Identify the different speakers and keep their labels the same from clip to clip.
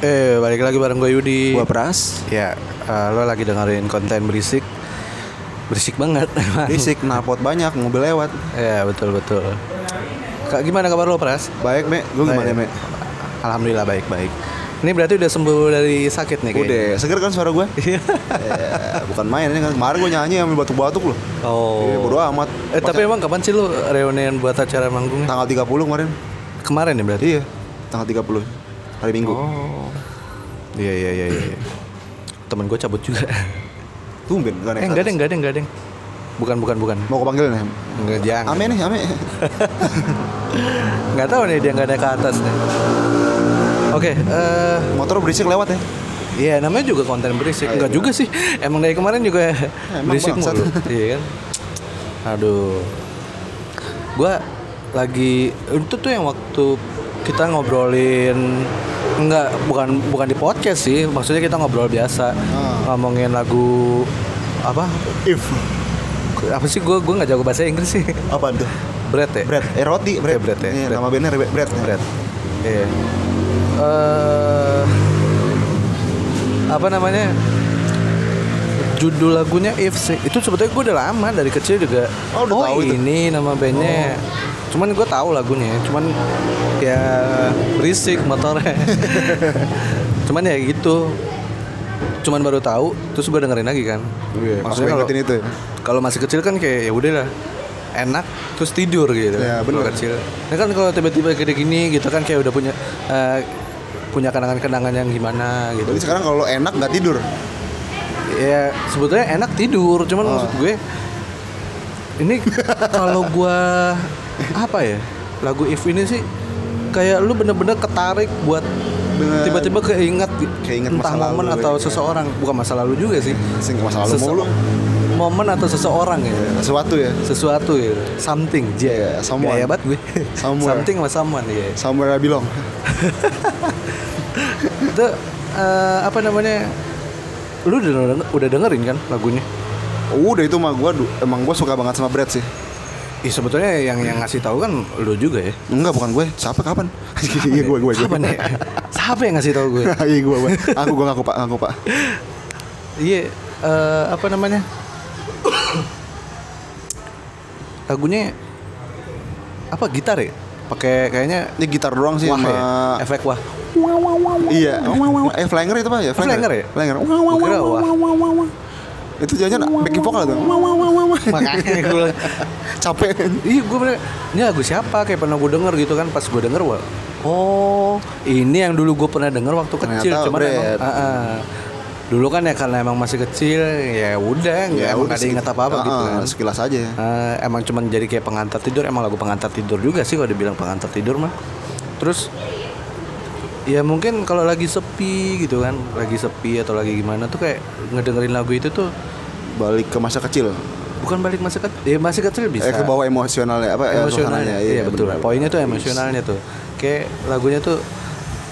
Speaker 1: Eh, balik lagi bareng gue Yudi.
Speaker 2: Gua Pras.
Speaker 1: Ya, eh, lo lagi dengerin konten berisik. Berisik banget.
Speaker 2: Risik, napot banyak, mobil lewat.
Speaker 1: ya, betul betul. Kak, gimana kabar lo, Pras?
Speaker 2: Baik, Mek. Lu gimana,
Speaker 1: Baik.
Speaker 2: Mek?
Speaker 1: Alhamdulillah baik-baik. Ini berarti udah sembuh dari sakit nih kayaknya.
Speaker 2: Udah, seger kan suara gue? ya, bukan main, ini kan. Kemarin gue nyanyi ambil batuk-batuk loh.
Speaker 1: Iya. Oh.
Speaker 2: Eh, bodo amat.
Speaker 1: Eh, tapi emang kapan sih lo reunian buat acara manggungnya?
Speaker 2: Tanggal 30 kemarin.
Speaker 1: Kemarin ya berarti.
Speaker 2: Iya, tanggal 30. Hari Minggu.
Speaker 1: Oh. Iya iya iya iya. Temen gue cabut juga.
Speaker 2: Tumben, gak
Speaker 1: eh,
Speaker 2: naik
Speaker 1: enggak
Speaker 2: atas.
Speaker 1: deng, enggak deng, enggak deng. Bukan bukan bukan.
Speaker 2: Mau gue panggil nih.
Speaker 1: Enggak jangan.
Speaker 2: Ame nih, ame.
Speaker 1: Nggak tahu nih dia nggak naik ke atas nih. Oke, eh
Speaker 2: Motor berisik lewat ya.
Speaker 1: Iya namanya juga konten berisik Enggak juga sih Emang dari kemarin juga
Speaker 2: Ah, iya. Eh, emang
Speaker 1: berisik
Speaker 2: bangsat.
Speaker 1: mulu Iya kan Aduh Gua lagi Itu tuh yang waktu kita ngobrolin Enggak bukan bukan di podcast sih Maksudnya kita ngobrol biasa Ngomongin lagu Apa
Speaker 2: Ah. If.
Speaker 1: Apa sih gue Gue nggak jago bahasa Inggris sih
Speaker 2: Apa tuh?
Speaker 1: Bread ya
Speaker 2: Bread, eh roti, bread.
Speaker 1: Iya, bread, ya,
Speaker 2: Iya,
Speaker 1: bread.
Speaker 2: Nama bandnya bread. bread.
Speaker 1: Bread Iya Eh, Apa namanya Judul lagunya If sih Itu sebetulnya gue udah lama dari kecil juga
Speaker 2: Oh, udah tahu itu. Oh.
Speaker 1: ini nama bandnya Cuman gue tahu lagunya Cuman ya berisik motornya Cuman ya gitu Cuman baru tahu Terus gue dengerin lagi kan
Speaker 2: Iya, pas gue
Speaker 1: kalau-
Speaker 2: ingetin itu ya.
Speaker 1: kalau masih kecil kan kayak ya udahlah enak terus tidur gitu
Speaker 2: Ya,
Speaker 1: kan kalau
Speaker 2: bener.
Speaker 1: kecil. Nah kan kalau tiba-tiba gede gini gitu kan kayak udah punya eh, punya kenangan-kenangan yang gimana gitu.
Speaker 2: Berarti sekarang kalau lo enak nggak tidur.
Speaker 1: Ya sebetulnya enak tidur, cuman
Speaker 2: Oh.
Speaker 1: maksud gue ini kalau gua apa ya lagu If ini sih kayak lu bener-bener ketarik buat
Speaker 2: Bener.
Speaker 1: tiba-tiba keinget,
Speaker 2: Keinget
Speaker 1: entah
Speaker 2: masa lalu
Speaker 1: momen
Speaker 2: lagi.
Speaker 1: atau seseorang bukan masa lalu juga sih
Speaker 2: Sing masa lalu
Speaker 1: Sese-
Speaker 2: mulu.
Speaker 1: momen atau seseorang gitu
Speaker 2: Sesuatu ya.
Speaker 1: sesuatu gitu something
Speaker 2: Yeah, someone.
Speaker 1: Iya. Gaya banget gue
Speaker 2: Somewhere.
Speaker 1: something sama someone ya
Speaker 2: Somewhere I belong.
Speaker 1: itu eh, apa namanya lu udah denger- udah dengerin kan lagunya
Speaker 2: Udah itu mah gue emang gue suka banget sama bread sih.
Speaker 1: Ih Iya, sebetulnya yang yang ngasih tahu kan lu juga ya
Speaker 2: Enggak bukan gue. Siapa kapan? Iya gue gue gue.
Speaker 1: siapa ya? nih siapa yang ngasih tahu gue
Speaker 2: Iya gue gue. Aku gue ngaku pak ngaku pak.
Speaker 1: iya eh, apa namanya lagunya apa gitar ya pakai kayaknya
Speaker 2: Ini gitar doang sih
Speaker 1: wah
Speaker 2: sama.
Speaker 1: ya efek wah
Speaker 2: Iya. Eh flanger itu pak ya?
Speaker 1: Flanger ya?
Speaker 2: Flanger.
Speaker 1: Gua kira wah
Speaker 2: Itu jajan backing vokal tuh.
Speaker 1: makanya gue bilang,
Speaker 2: Capek.
Speaker 1: Iya gue bener Ini lagu siapa Kayak pernah gue denger gitu kan Pas gue denger wah Oh Ini yang dulu gue pernah denger Waktu kecil
Speaker 2: Ternyata
Speaker 1: Cuman emang
Speaker 2: bread.
Speaker 1: ah, ah. Dulu kan ya karena emang masih kecil Ya udah ya, Emang
Speaker 2: udah
Speaker 1: gak ada ingat
Speaker 2: sedikit.
Speaker 1: apa-apa gitu
Speaker 2: Ah,
Speaker 1: kan
Speaker 2: ah, Sekilas aja. ya.
Speaker 1: Eh, Emang cuman jadi kayak pengantar tidur Emang lagu pengantar tidur juga sih Kalau dibilang pengantar tidur mah Terus Ya mungkin kalau lagi sepi gitu kan Lagi sepi atau lagi gimana tuh kayak Ngedengerin lagu itu tuh
Speaker 2: Balik ke masa kecil.
Speaker 1: Bukan balik masa kecil Ya masih kecil bisa
Speaker 2: Eh ke bawah emosionalnya apa? eh,
Speaker 1: emosionalnya
Speaker 2: suasananya.
Speaker 1: iya, betul
Speaker 2: bener.
Speaker 1: poinnya tuh emosionalnya tuh kayak lagunya tuh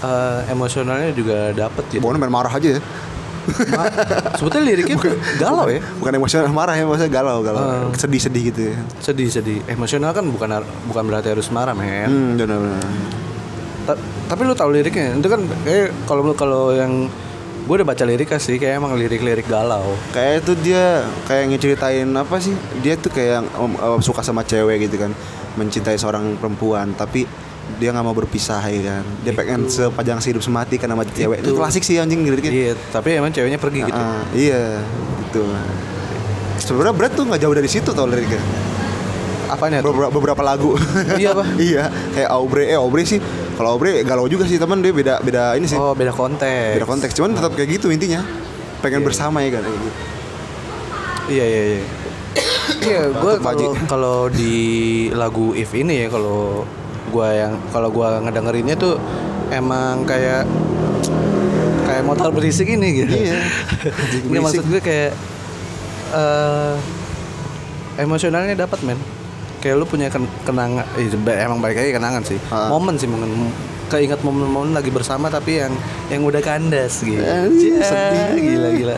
Speaker 1: eh, emosionalnya juga dapet gitu
Speaker 2: Pokoknya main marah aja ya.
Speaker 1: Ma- sebetulnya liriknya tuh galau ya
Speaker 2: Bukan emosional marah ya, maksudnya galau
Speaker 1: Ah.
Speaker 2: galau. Sedih-sedih gitu ya.
Speaker 1: sedih sedih emosional kan bukan har- bukan berarti harus marah men
Speaker 2: Hmm, benar-benar.
Speaker 1: Ta- tapi lu tahu liriknya itu kan kayak kalau lu- kalau yang gue udah baca liriknya sih kayak emang lirik-lirik galau
Speaker 2: kayak itu dia kayak ngeceritain apa sih dia tuh kayak um, um, suka sama cewek gitu kan mencintai seorang perempuan tapi dia nggak mau berpisah ya kan dia pengen sepanjang hidup semati karena sama cewek itu klasik sih anjing gitu gitu
Speaker 1: iya tapi emang ceweknya pergi gitu
Speaker 2: Ah, iya gitu sebenarnya Brad tuh nggak jauh dari situ tau liriknya ah.
Speaker 1: apanya tuh
Speaker 2: beberapa, beberapa lagu
Speaker 1: Iya, apa?
Speaker 2: iya kayak Aubrey eh Aubrey sih kalau Aubrey galau juga sih teman dia beda beda ini sih
Speaker 1: oh beda konteks
Speaker 2: beda konteks cuman tetap kayak gitu intinya pengen bersama ya kan kayak gitu.
Speaker 1: Iya iya iya. Iya, gue
Speaker 2: Batuk, Pak Haji.
Speaker 1: kalau kalau di lagu If ini ya kalau gua yang kalau gua ngedengerinnya tuh emang kayak kayak motor berisik ini gitu.
Speaker 2: Iya.
Speaker 1: Ini
Speaker 2: Berisik.
Speaker 1: maksud gue kayak eh emosionalnya dapat men. Kayak lu punya ken- kenangan eh, ba- emang balik lagi kenangan sih.
Speaker 2: Ha.
Speaker 1: Momen sih mungkin keinget momen-momen lagi bersama tapi yang yang udah kandas gitu.
Speaker 2: Eh,
Speaker 1: Ya,
Speaker 2: sedih.
Speaker 1: Gila gila.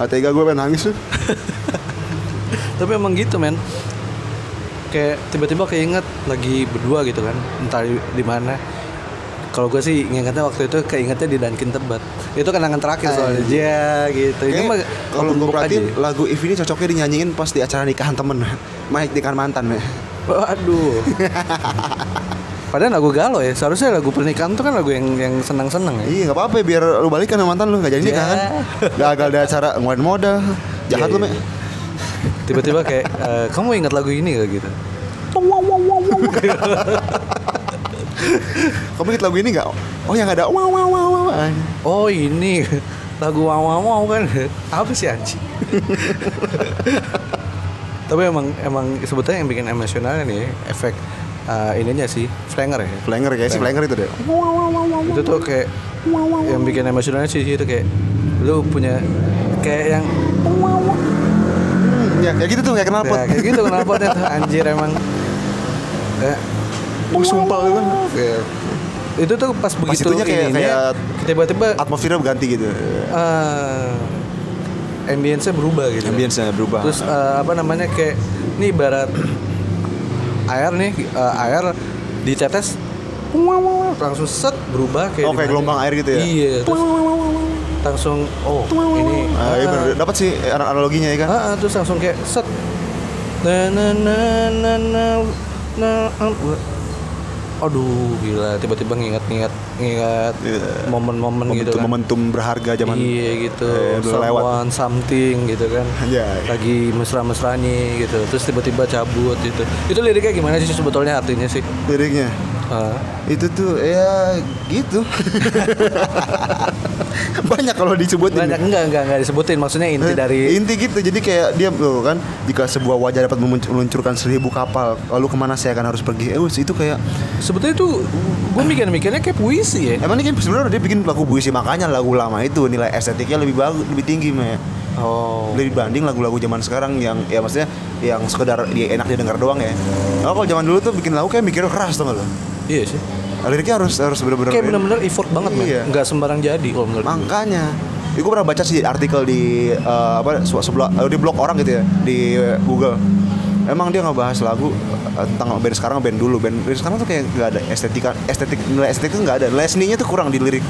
Speaker 2: Gak tega gue pengen nangis tuh
Speaker 1: tapi emang gitu men kayak tiba-tiba keinget lagi berdua gitu kan entah di di mana kalau gue sih ngingetnya waktu itu keingetnya di Dunkin Tebet itu kenangan terakhir soalnya aja gitu ini mah
Speaker 2: Kayaknya kalau
Speaker 1: open
Speaker 2: gue
Speaker 1: book
Speaker 2: perhatiin
Speaker 1: aja. ya.
Speaker 2: lagu If ini cocoknya dinyanyiin pas di acara nikahan temen Maik nikahan mantan ya
Speaker 1: waduh padahal lagu galau ya seharusnya lagu pernikahan tuh kan lagu yang yang senang senang ya
Speaker 2: Iya gak apa-apa ya, biar lu balikan sama mantan lu gak jadi nikah kan Gagal di acara ngeluarin modal Jahat
Speaker 1: Iya, iya.
Speaker 2: lu Mek
Speaker 1: tiba-tiba kayak eh, kamu ingat lagu ini gak gitu
Speaker 2: Kamu inget lagu ini gak? Oh yang ada wow wow wow wow
Speaker 1: oh ini lagu mau mau mau kan apa sih anjing tapi emang emang sebetulnya yang bikin emosionalnya nih efek eh, ininya sih flanger ya
Speaker 2: Flanger kayak si Flanger itu deh
Speaker 1: itu tuh kayak yang bikin emosionalnya sih itu kayak lu punya kayak yang
Speaker 2: Hmm, Ya kayak gitu tuh kayak kenal pot
Speaker 1: ya, kayak gitu kenapa deh anjir emang kayak
Speaker 2: Wah, sumpah lu kan
Speaker 1: kayak- itu tuh pas begitu
Speaker 2: itunya kayak-
Speaker 1: ininya,
Speaker 2: kayak-
Speaker 1: tiba-tiba
Speaker 2: Atmosfernya berganti gitu
Speaker 1: eh ambience eh, berubah gitu
Speaker 2: Ambience-nya berubah
Speaker 1: terus eh, apa namanya kayak ini ibarat air nih eh, air ditetes langsung set berubah kayak
Speaker 2: Oh, kayak
Speaker 1: dimana-
Speaker 2: gelombang air gitu ya?
Speaker 1: iya terus langsung oh ini
Speaker 2: Ah, iya
Speaker 1: ah,
Speaker 2: bener. Dapat sih eh, analoginya ya kan
Speaker 1: ah, ah, terus langsung kayak set na na na na na na ah, gua- aduh gila tiba-tiba ngingat-ngingat ngingat
Speaker 2: Iya.
Speaker 1: momen-momen gitu kan
Speaker 2: Momentum-momentum berharga zaman
Speaker 1: iya gitu
Speaker 2: eh, udah lewat.
Speaker 1: someone something gitu kan
Speaker 2: Iya.
Speaker 1: lagi mesra-mesranya gitu terus tiba-tiba cabut gitu itu liriknya gimana sih sebetulnya artinya sih
Speaker 2: Liriknya
Speaker 1: Ah.
Speaker 2: itu tuh ya gitu banyak kalau disebutin
Speaker 1: banyak enggak enggak enggak disebutin maksudnya inti dari
Speaker 2: inti gitu jadi kayak dia tuh kan jika sebuah wajah dapat memun- meluncurkan seribu kapal lalu kemana saya akan harus pergi eh wes, itu kayak
Speaker 1: sebetulnya itu gue mikir-mikirnya kayak puisi ya
Speaker 2: emang ini kan sebenarnya dia bikin lagu puisi makanya lagu lama itu nilai estetiknya lebih bagus lebih tinggi meh
Speaker 1: oh
Speaker 2: lebih banding lagu-lagu zaman sekarang yang ya maksudnya yang sekedar dia enak didengar doang ya oh, kalau zaman dulu tuh bikin lagu kayak mikirnya keras tuh lo
Speaker 1: iya sih
Speaker 2: liriknya harus harus bener-bener
Speaker 1: kayak bener-bener effort banget men
Speaker 2: Iya.
Speaker 1: nggak sembarang jadi kalau menurut gua.
Speaker 2: Makanya. Gue pernah baca sih artikel di eh, apa se- sebelah eh, di blog orang gitu ya di eh, Google. Emang dia ngebahas lagu eh, tentang band sekarang band dulu band, band sekarang tuh kayak nggak ada estetika estetik nilai estetik tuh nggak ada nilai seninya tuh kurang di lirik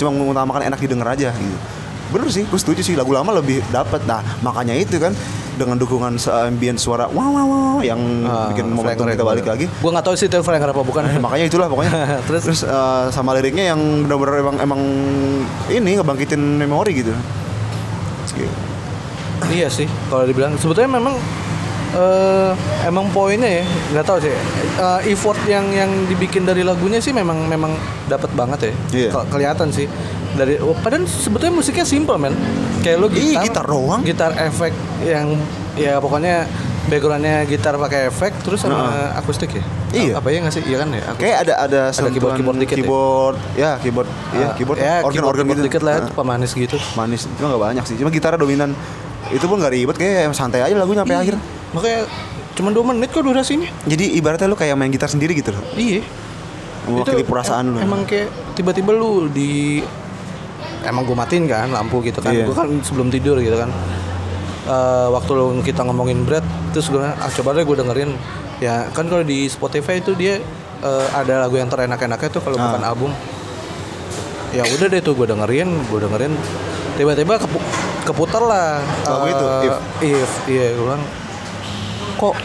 Speaker 2: cuma mengutamakan enak didengar aja gitu bener sih gue setuju sih lagu lama lebih dapat nah makanya itu kan dengan dukungan se- ambient suara wow wow wow yang
Speaker 1: Ah,
Speaker 2: bikin momentum
Speaker 1: Flanger
Speaker 2: kita
Speaker 1: ya,
Speaker 2: balik
Speaker 1: gua-
Speaker 2: lagi
Speaker 1: gua nggak tahu sih itu flanger apa bukan
Speaker 2: Eh, makanya itulah pokoknya
Speaker 1: Terus?
Speaker 2: terus eh, sama liriknya yang benar-benar emang emang ini ngebangkitin memori gitu
Speaker 1: iya sih kalau dibilang sebetulnya memang eh, emang poinnya ya nggak tahu sih Eh, effort yang yang dibikin dari lagunya sih memang memang dapat banget ya
Speaker 2: Iya.
Speaker 1: Ke- kelihatan sih dari oh, padahal sebetulnya musiknya simple men kayak lo
Speaker 2: Ih,
Speaker 1: gitar
Speaker 2: gitar doang.
Speaker 1: gitar efek yang ya pokoknya backgroundnya gitar pakai efek terus sama akustik ya
Speaker 2: Iya.
Speaker 1: apa ya nggak sih iya kan ya akustik.
Speaker 2: kayak ada ada
Speaker 1: keyboard-
Speaker 2: sentuhan
Speaker 1: keyboard dikit ya?
Speaker 2: keyboard ya keyboard ya
Speaker 1: Ah,
Speaker 2: keyboard
Speaker 1: ya,
Speaker 2: organ organ
Speaker 1: keyboard
Speaker 2: gitu
Speaker 1: dikit lah
Speaker 2: Ah,
Speaker 1: itu pemanis gitu
Speaker 2: manis cuma nggak banyak sih cuma gitar dominan itu pun nggak ribet kayak santai aja
Speaker 1: Iya.
Speaker 2: lagunya sampai akhir
Speaker 1: makanya cuma dua menit kok durasinya
Speaker 2: jadi ibaratnya lu kayak main gitar sendiri gitu loh
Speaker 1: Iya.
Speaker 2: Mewakili
Speaker 1: Itu
Speaker 2: perasaan lu.
Speaker 1: Emang kayak tiba-tiba lu di emang gue matiin kan lampu gitu kan.
Speaker 2: Iya.
Speaker 1: Gue kan sebelum tidur gitu kan. Eh, waktu lu kita ngomongin Brad terus gue ah coba deh gue dengerin ya kan kalau di Spotify itu dia eh, ada lagu yang terenak-enaknya tuh
Speaker 2: Ah.
Speaker 1: kalau bukan album ya udah deh tuh gue dengerin gue dengerin tiba-tiba kepu- keputar lah
Speaker 2: Lagu
Speaker 1: eh,
Speaker 2: itu, Oh, gitu? If.
Speaker 1: if iya gue bilang kok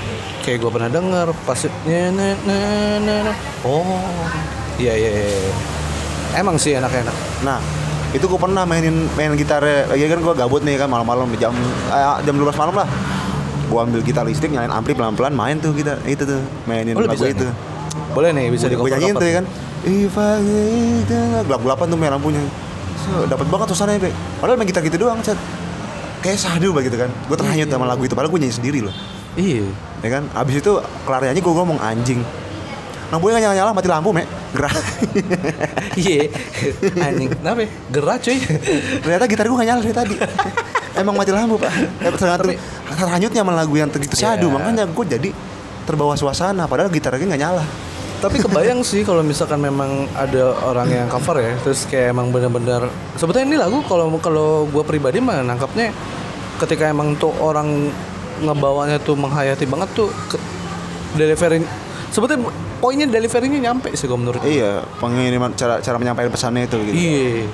Speaker 1: kayak gue pernah denger pas na- na- na- na- na. oh iya iya iya emang sih enak-enak
Speaker 2: nah itu gue pernah mainin main gitar lagi kan gue gabut nih kan malam-malam jam eh, jam 12 malam lah gue ambil gitar listrik nyalain ampli pelan-pelan main tuh gitar itu tuh mainin
Speaker 1: Oh, lu
Speaker 2: lagu
Speaker 1: bisa
Speaker 2: itu
Speaker 1: nih? boleh nih bisa
Speaker 2: bisa gue nyanyiin tuh ya kan If I get- gelap-gelapan tuh main lampunya so, dapat banget suasananya Be. padahal main gitar gitu doang Cet. kayak sahdu banget gitu kan gue terhanyut sama lagu itu padahal gue nyanyi sendiri loh
Speaker 1: iya
Speaker 2: ya kan abis itu kelar nyanyi gue ngomong anjing lampunya nggak nyala-nyala mati lampu mek gerah
Speaker 1: iya anjing kenapa ya? gerah cuy
Speaker 2: ternyata gitar gue nggak nyala dari tadi emang mati lampu pak eh, ternyata
Speaker 1: Tapi-
Speaker 2: terhanyutnya sama lagu yang begitu sahdu
Speaker 1: Iya.
Speaker 2: makanya gue jadi terbawa suasana padahal gitarnya nggak nyala
Speaker 1: tapi kebayang sih kalau misalkan memang ada orang yang cover ya terus kayak emang benar-benar sebetulnya ini lagu kalau kalau gue pribadi mah nangkapnya ketika emang tuh orang ngebawanya tuh menghayati banget tuh ke, deliverin sebetulnya poinnya deliverynya nyampe sih kalau menurut gue.
Speaker 2: Iya, pengiriman cara cara menyampaikan pesannya itu gitu.
Speaker 1: Iya.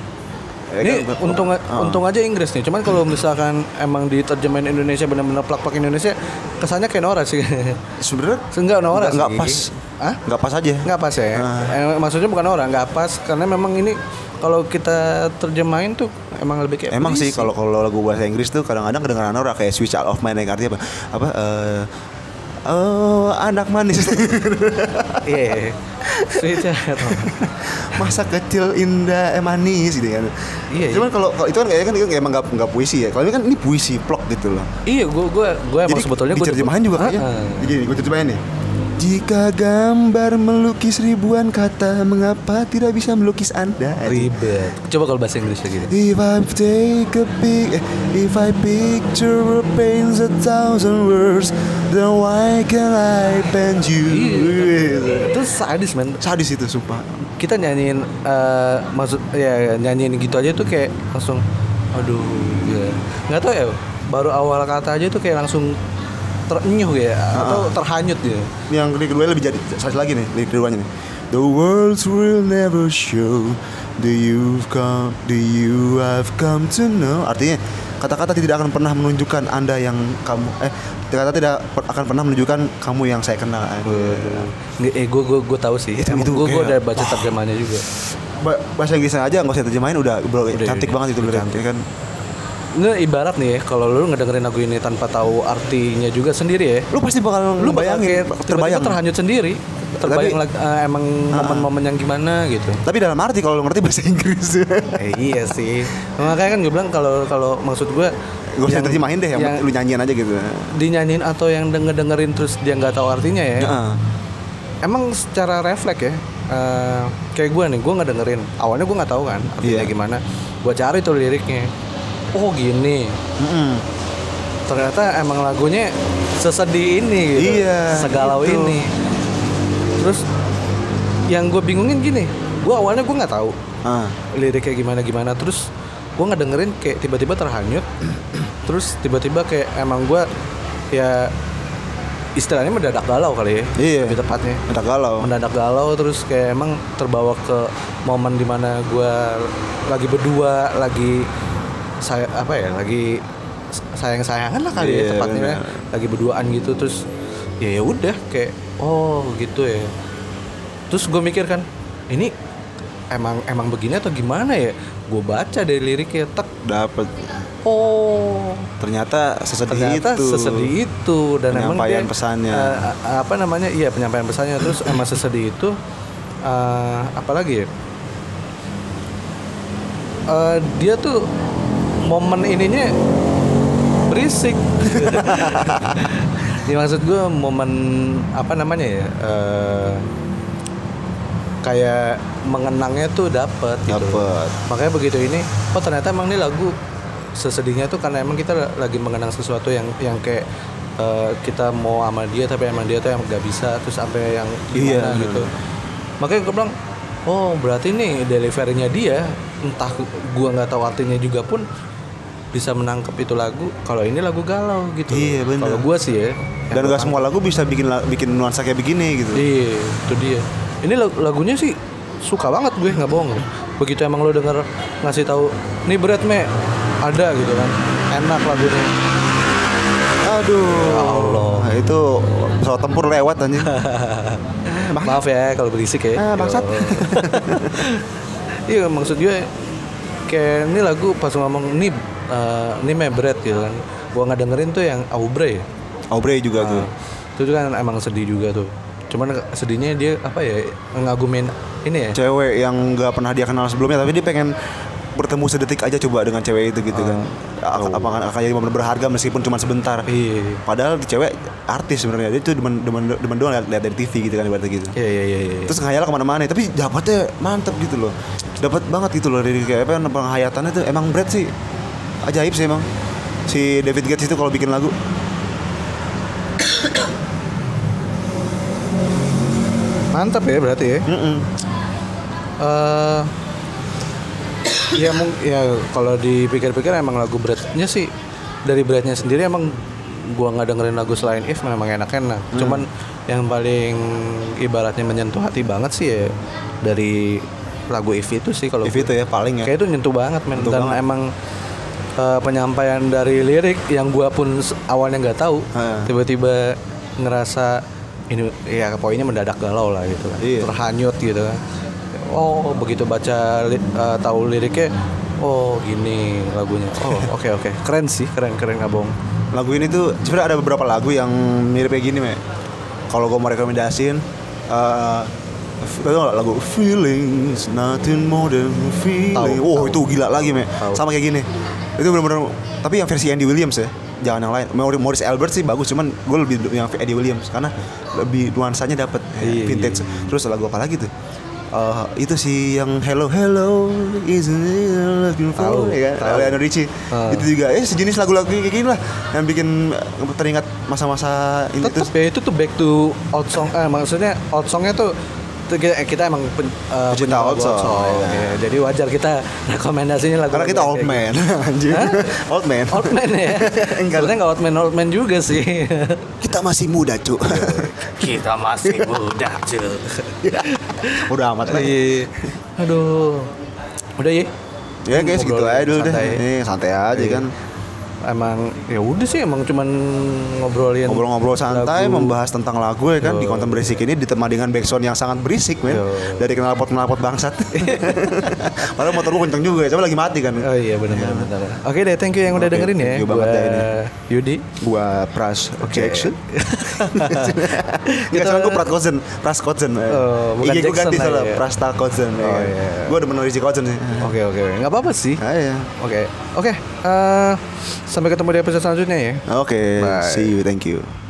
Speaker 2: Ya
Speaker 1: Ini
Speaker 2: kan, gua-
Speaker 1: untung
Speaker 2: Ah.
Speaker 1: untung aja Inggris nih. Cuman kalau misalkan emang diterjemahin Indonesia benar-benar plak-plak Indonesia kesannya kayak Nora sih.
Speaker 2: sebenarnya
Speaker 1: Enggak Nora sih.
Speaker 2: nggak pas.
Speaker 1: Hah?
Speaker 2: Nggak pas aja.
Speaker 1: Nggak pas
Speaker 2: Ah.
Speaker 1: ya. Eh, maksudnya bukan Nora, nggak pas karena memang ini kalau kita terjemahin tuh emang lebih kayak
Speaker 2: Emang Iya sih
Speaker 1: puisi.
Speaker 2: kalau kalau lagu bahasa Inggris tuh kadang-kadang kedengaran orang kayak switch out of mind yang artinya apa? Apa eh oh, anak manis
Speaker 1: Iya. ya, Sweetheart.
Speaker 2: masa kecil indah eh, manis gitu kan.
Speaker 1: Iya,
Speaker 2: Cuman kalau kalau itu kan kayaknya kan itu emang nggak nggak puisi ya. Kalau ini kan ini puisi plok gitu loh.
Speaker 1: iya, gue gue gue emang sebetulnya Ah, gue
Speaker 2: diterjemahan juga kayaknya. Jadi gue terjemahin nih. Jika gambar melukis ribuan kata, mengapa tidak bisa melukis Anda?
Speaker 1: Ribet. Coba kalau bahasa Inggris lagi deh.
Speaker 2: If I take a pic, eh, if I picture paints a thousand words, then why can I paint you?
Speaker 1: Iya. Itu sadis men.
Speaker 2: Iya, Sadis itu sumpah.
Speaker 1: Kita nyanyiin eh, maksud ya nyanyiin gitu aja tuh kayak langsung aduh ya. Nggak tahu ya baru awal kata aja tuh kayak langsung terenyuh ya atau
Speaker 2: Ah,
Speaker 1: terhanyut ya.
Speaker 2: Yang lirik kedua lebih jadi sadis lagi nih, lirik keduanya nih. The words will never show the you've come, the you have come to know. Artinya kata-kata tidak akan pernah menunjukkan anda yang kamu eh kata-kata tidak per- akan pernah menunjukkan kamu yang saya kenal.
Speaker 1: Nggak, Eh gue gue gue tahu sih. Emang
Speaker 2: itu
Speaker 1: gue gue
Speaker 2: kayak,
Speaker 1: udah baca terjemahannya juga.
Speaker 2: Ba- bahasa Inggrisnya aja nggak usah terjemahin udah bro
Speaker 1: Udah,
Speaker 2: cantik
Speaker 1: udah,
Speaker 2: banget itu lirik ya kan
Speaker 1: Ini ibarat nih ya, kalau lu ngedengerin lagu ini tanpa tahu artinya juga sendiri ya.
Speaker 2: lu pasti bakal
Speaker 1: Lu bakal
Speaker 2: bayangin
Speaker 1: kayak tiba-tiba
Speaker 2: terbayang Ah.
Speaker 1: terhanyut sendiri. Terbayang lag- eh, emang momen-momen yang gimana gitu.
Speaker 2: tapi dalam arti kalau lu ngerti bahasa Inggris
Speaker 1: Eh, iya sih. Makanya kan gue bilang kalau kalau maksud gue
Speaker 2: gak usah terjemahin deh yang,
Speaker 1: yang
Speaker 2: lu nyanyian aja gitu
Speaker 1: dinyanyiin atau yang denger dengerin terus dia nggak tahu artinya ya.
Speaker 2: Heeh.
Speaker 1: Emang secara refleks ya. eh, kayak gue nih, gue nggak dengerin. Awalnya gue nggak tahu kan artinya
Speaker 2: Iya.
Speaker 1: gimana. Gue cari tuh liriknya. Oh gini.
Speaker 2: Mm-mm.
Speaker 1: Ternyata emang lagunya sesedih ini gitu.
Speaker 2: Iya,
Speaker 1: Segalau
Speaker 2: gitu.
Speaker 1: ini. Terus yang gue bingungin gini, gue awalnya gue nggak tahu
Speaker 2: Ah.
Speaker 1: liriknya gimana gimana terus gue ngedengerin kayak tiba-tiba terhanyut terus tiba-tiba kayak emang gue ya istilahnya mendadak galau kali ya
Speaker 2: Iya.
Speaker 1: lebih tepatnya
Speaker 2: Ada galau
Speaker 1: mendadak galau terus kayak emang terbawa ke momen dimana gue lagi berdua lagi saya apa ya lagi sayang sayangan lah kali ya
Speaker 2: Iya,
Speaker 1: tepatnya ya.
Speaker 2: benar.
Speaker 1: lagi berduaan gitu terus ya ya udah kayak oh gitu ya terus gue mikir kan ini emang emang begini atau gimana ya gue baca dari liriknya tek
Speaker 2: dapat
Speaker 1: oh
Speaker 2: ternyata sesedih
Speaker 1: ternyata
Speaker 2: itu
Speaker 1: sesedih itu dan emang
Speaker 2: Penyampaian
Speaker 1: dia,
Speaker 2: pesannya.
Speaker 1: eh, a- apa namanya iya penyampaian pesannya terus emang sesedih itu eh, apalagi ya Eh, dia tuh momen ininya berisik ya maksud gue momen apa namanya ya eh, kayak mengenangnya tuh dapet gitu
Speaker 2: dapat
Speaker 1: makanya begitu ini oh ternyata emang ini lagu sesedihnya tuh karena emang kita la- lagi mengenang sesuatu yang yang kayak eh, kita mau sama dia tapi emang dia tuh yang nggak bisa terus sampai yang gimana
Speaker 2: Iya,
Speaker 1: gitu makanya gue bilang oh berarti nih deliverynya dia entah gua nggak tahu artinya juga pun bisa menangkap itu lagu kalau ini lagu galau gitu
Speaker 2: Iya, bener.
Speaker 1: kalau gua sih ya
Speaker 2: dan
Speaker 1: yang gua
Speaker 2: gak semua lagu bisa bikin la- bikin nuansa kayak begini gitu
Speaker 1: Iya, itu dia. Ini lag- lagunya sih suka banget gue nggak bohong. Begitu emang lo denger ngasih tahu, nih berat me ada gitu kan, enak lagunya.
Speaker 2: aduh
Speaker 1: Ya Allah.
Speaker 2: Nah, itu pesawat tempur lewat anjing
Speaker 1: Maaf ya kalau berisik ya.
Speaker 2: Ah, bangsat.
Speaker 1: Yo. Iya maksud gue kayak ini lagu pas ngomong nih eh, ini me berat gitu kan. Gue nggak dengerin tuh yang Aubrey. ya.
Speaker 2: Aubrey juga tuh
Speaker 1: Itu tuh kan emang sedih juga tuh. Cuman sedihnya dia apa ya ngagumin ini ya.
Speaker 2: cewek yang nggak pernah dia kenal sebelumnya tapi dia pengen bertemu sedetik aja coba dengan cewek itu gitu kan Ak- apa akan jadi momen berharga meskipun cuma
Speaker 1: Ah.
Speaker 2: sebentar
Speaker 1: Oh. Iya.
Speaker 2: padahal tuh cewek artis sebenarnya dia tuh demen demen demen doang lihat lihat dari TV gitu kan ibaratnya gitu
Speaker 1: Iya iya iya. iya.
Speaker 2: terus ngayal kemana-mana tapi dapatnya mantep gitu loh dapat banget gitu loh dari kayak apa penghayatannya tuh emang Brad sih ajaib sih emang si David Gates itu kalau bikin lagu
Speaker 1: Mantap ya berarti ya.
Speaker 2: Mm-mm.
Speaker 1: eh ya mung- ya kalau dipikir-pikir emang lagu beratnya sih dari beratnya sendiri emang gua nggak dengerin lagu selain If memang enak-enak.
Speaker 2: Hmm.
Speaker 1: Cuman yang paling ibaratnya menyentuh hati banget sih ya dari lagu If itu sih kalau
Speaker 2: If itu ya paling ya.
Speaker 1: kayak itu nyentuh banget men dan emang eh, penyampaian dari lirik yang gua pun s- awalnya nggak tahu
Speaker 2: Ha.
Speaker 1: tiba-tiba ngerasa ini ya poinnya mendadak galau lah gitu kan
Speaker 2: Iya.
Speaker 1: terhanyut gitu kan oh begitu baca li- eh, tahu liriknya oh gini lagunya oh oke oke keren sih keren keren nggak bohong
Speaker 2: Lagu ini tuh sebenarnya ada beberapa lagu yang mirip kayak gini, Me. Kalau gue mau rekomendasiin eh tau nggak lagu Feelings Nothing More Than Feeling.
Speaker 1: Tahu,
Speaker 2: Wow, itu gila lagi, Me.
Speaker 1: Tahu.
Speaker 2: Sama kayak gini. Itu benar-benar tapi yang versi Andy Williams ya. Jangan yang lain. Maur- Morris Albert sih bagus, cuman gue lebih yang Eddie Williams karena lebih nuansanya dapet
Speaker 1: Iya,
Speaker 2: ya, vintage. Terus lagu apa lagi tuh? Eh, itu sih yang Hello Hello Isn't It
Speaker 1: Tahu,
Speaker 2: Beautiful ya kan?
Speaker 1: tahu.
Speaker 2: Leonardo Ricci.
Speaker 1: Ah.
Speaker 2: Itu juga eh sejenis lagu-lagu kayak gini lah yang bikin eh, teringat masa-masa ini
Speaker 1: tetep
Speaker 2: terus
Speaker 1: ya itu tuh back to old song eh maksudnya old songnya tuh tuh kita, kita emang pen, eh,
Speaker 2: Pecinta
Speaker 1: penyuka
Speaker 2: old song, iya.
Speaker 1: ya. jadi wajar kita rekomendasinya lagu
Speaker 2: karena kita old man anjir.
Speaker 1: Iya, Hah?
Speaker 2: old man.
Speaker 1: old man ya
Speaker 2: Enggak.
Speaker 1: sebenarnya nggak old man old man juga sih
Speaker 2: Kita masih muda, Cuk.
Speaker 1: Iya, kita masih muda
Speaker 2: Udah amat lah.
Speaker 1: iya aduh udah ya
Speaker 2: Ya guys, gitu
Speaker 1: Ngobrol
Speaker 2: aja dulu deh.
Speaker 1: santai.
Speaker 2: Ini santai aja
Speaker 1: Iya.
Speaker 2: kan.
Speaker 1: emang ya udah sih emang cuman ngobrolin
Speaker 2: Ngobrol-ngobrol santai
Speaker 1: lagu.
Speaker 2: membahas tentang lagu ya kan di konten berisik ini ditemani dengan backsound yang sangat berisik, men.
Speaker 1: Yo.
Speaker 2: Dari knalpot-knalpot bangsat. Padahal motor lu kenceng juga ya, coba lagi mati kan.
Speaker 1: Oh iya benar benar. benar. Oke deh, thank you yang udah
Speaker 2: Oke,
Speaker 1: dengerin ya.
Speaker 2: thank you
Speaker 1: Gua
Speaker 2: banget dah ini.
Speaker 1: Yudi.
Speaker 2: gua Pras Jackson. Enggak
Speaker 1: Kita-
Speaker 2: salah gua Pras Kozen, Pras Kozen. eh.
Speaker 1: Gitu. Oh, bukan
Speaker 2: IG gua
Speaker 1: Jackson
Speaker 2: ganti
Speaker 1: lah
Speaker 2: salah,
Speaker 1: ya.
Speaker 2: Pras Ta Kozen. eh.
Speaker 1: Oh, iya.
Speaker 2: Gua udah menulis Kozen sih.
Speaker 1: Oke oke, oke. nggak apa-apa sih.
Speaker 2: Ah, iya.
Speaker 1: Oke oke. eh, sampai ketemu di episode selanjutnya ya.
Speaker 2: Oke,
Speaker 1: Bye.
Speaker 2: see you, thank you.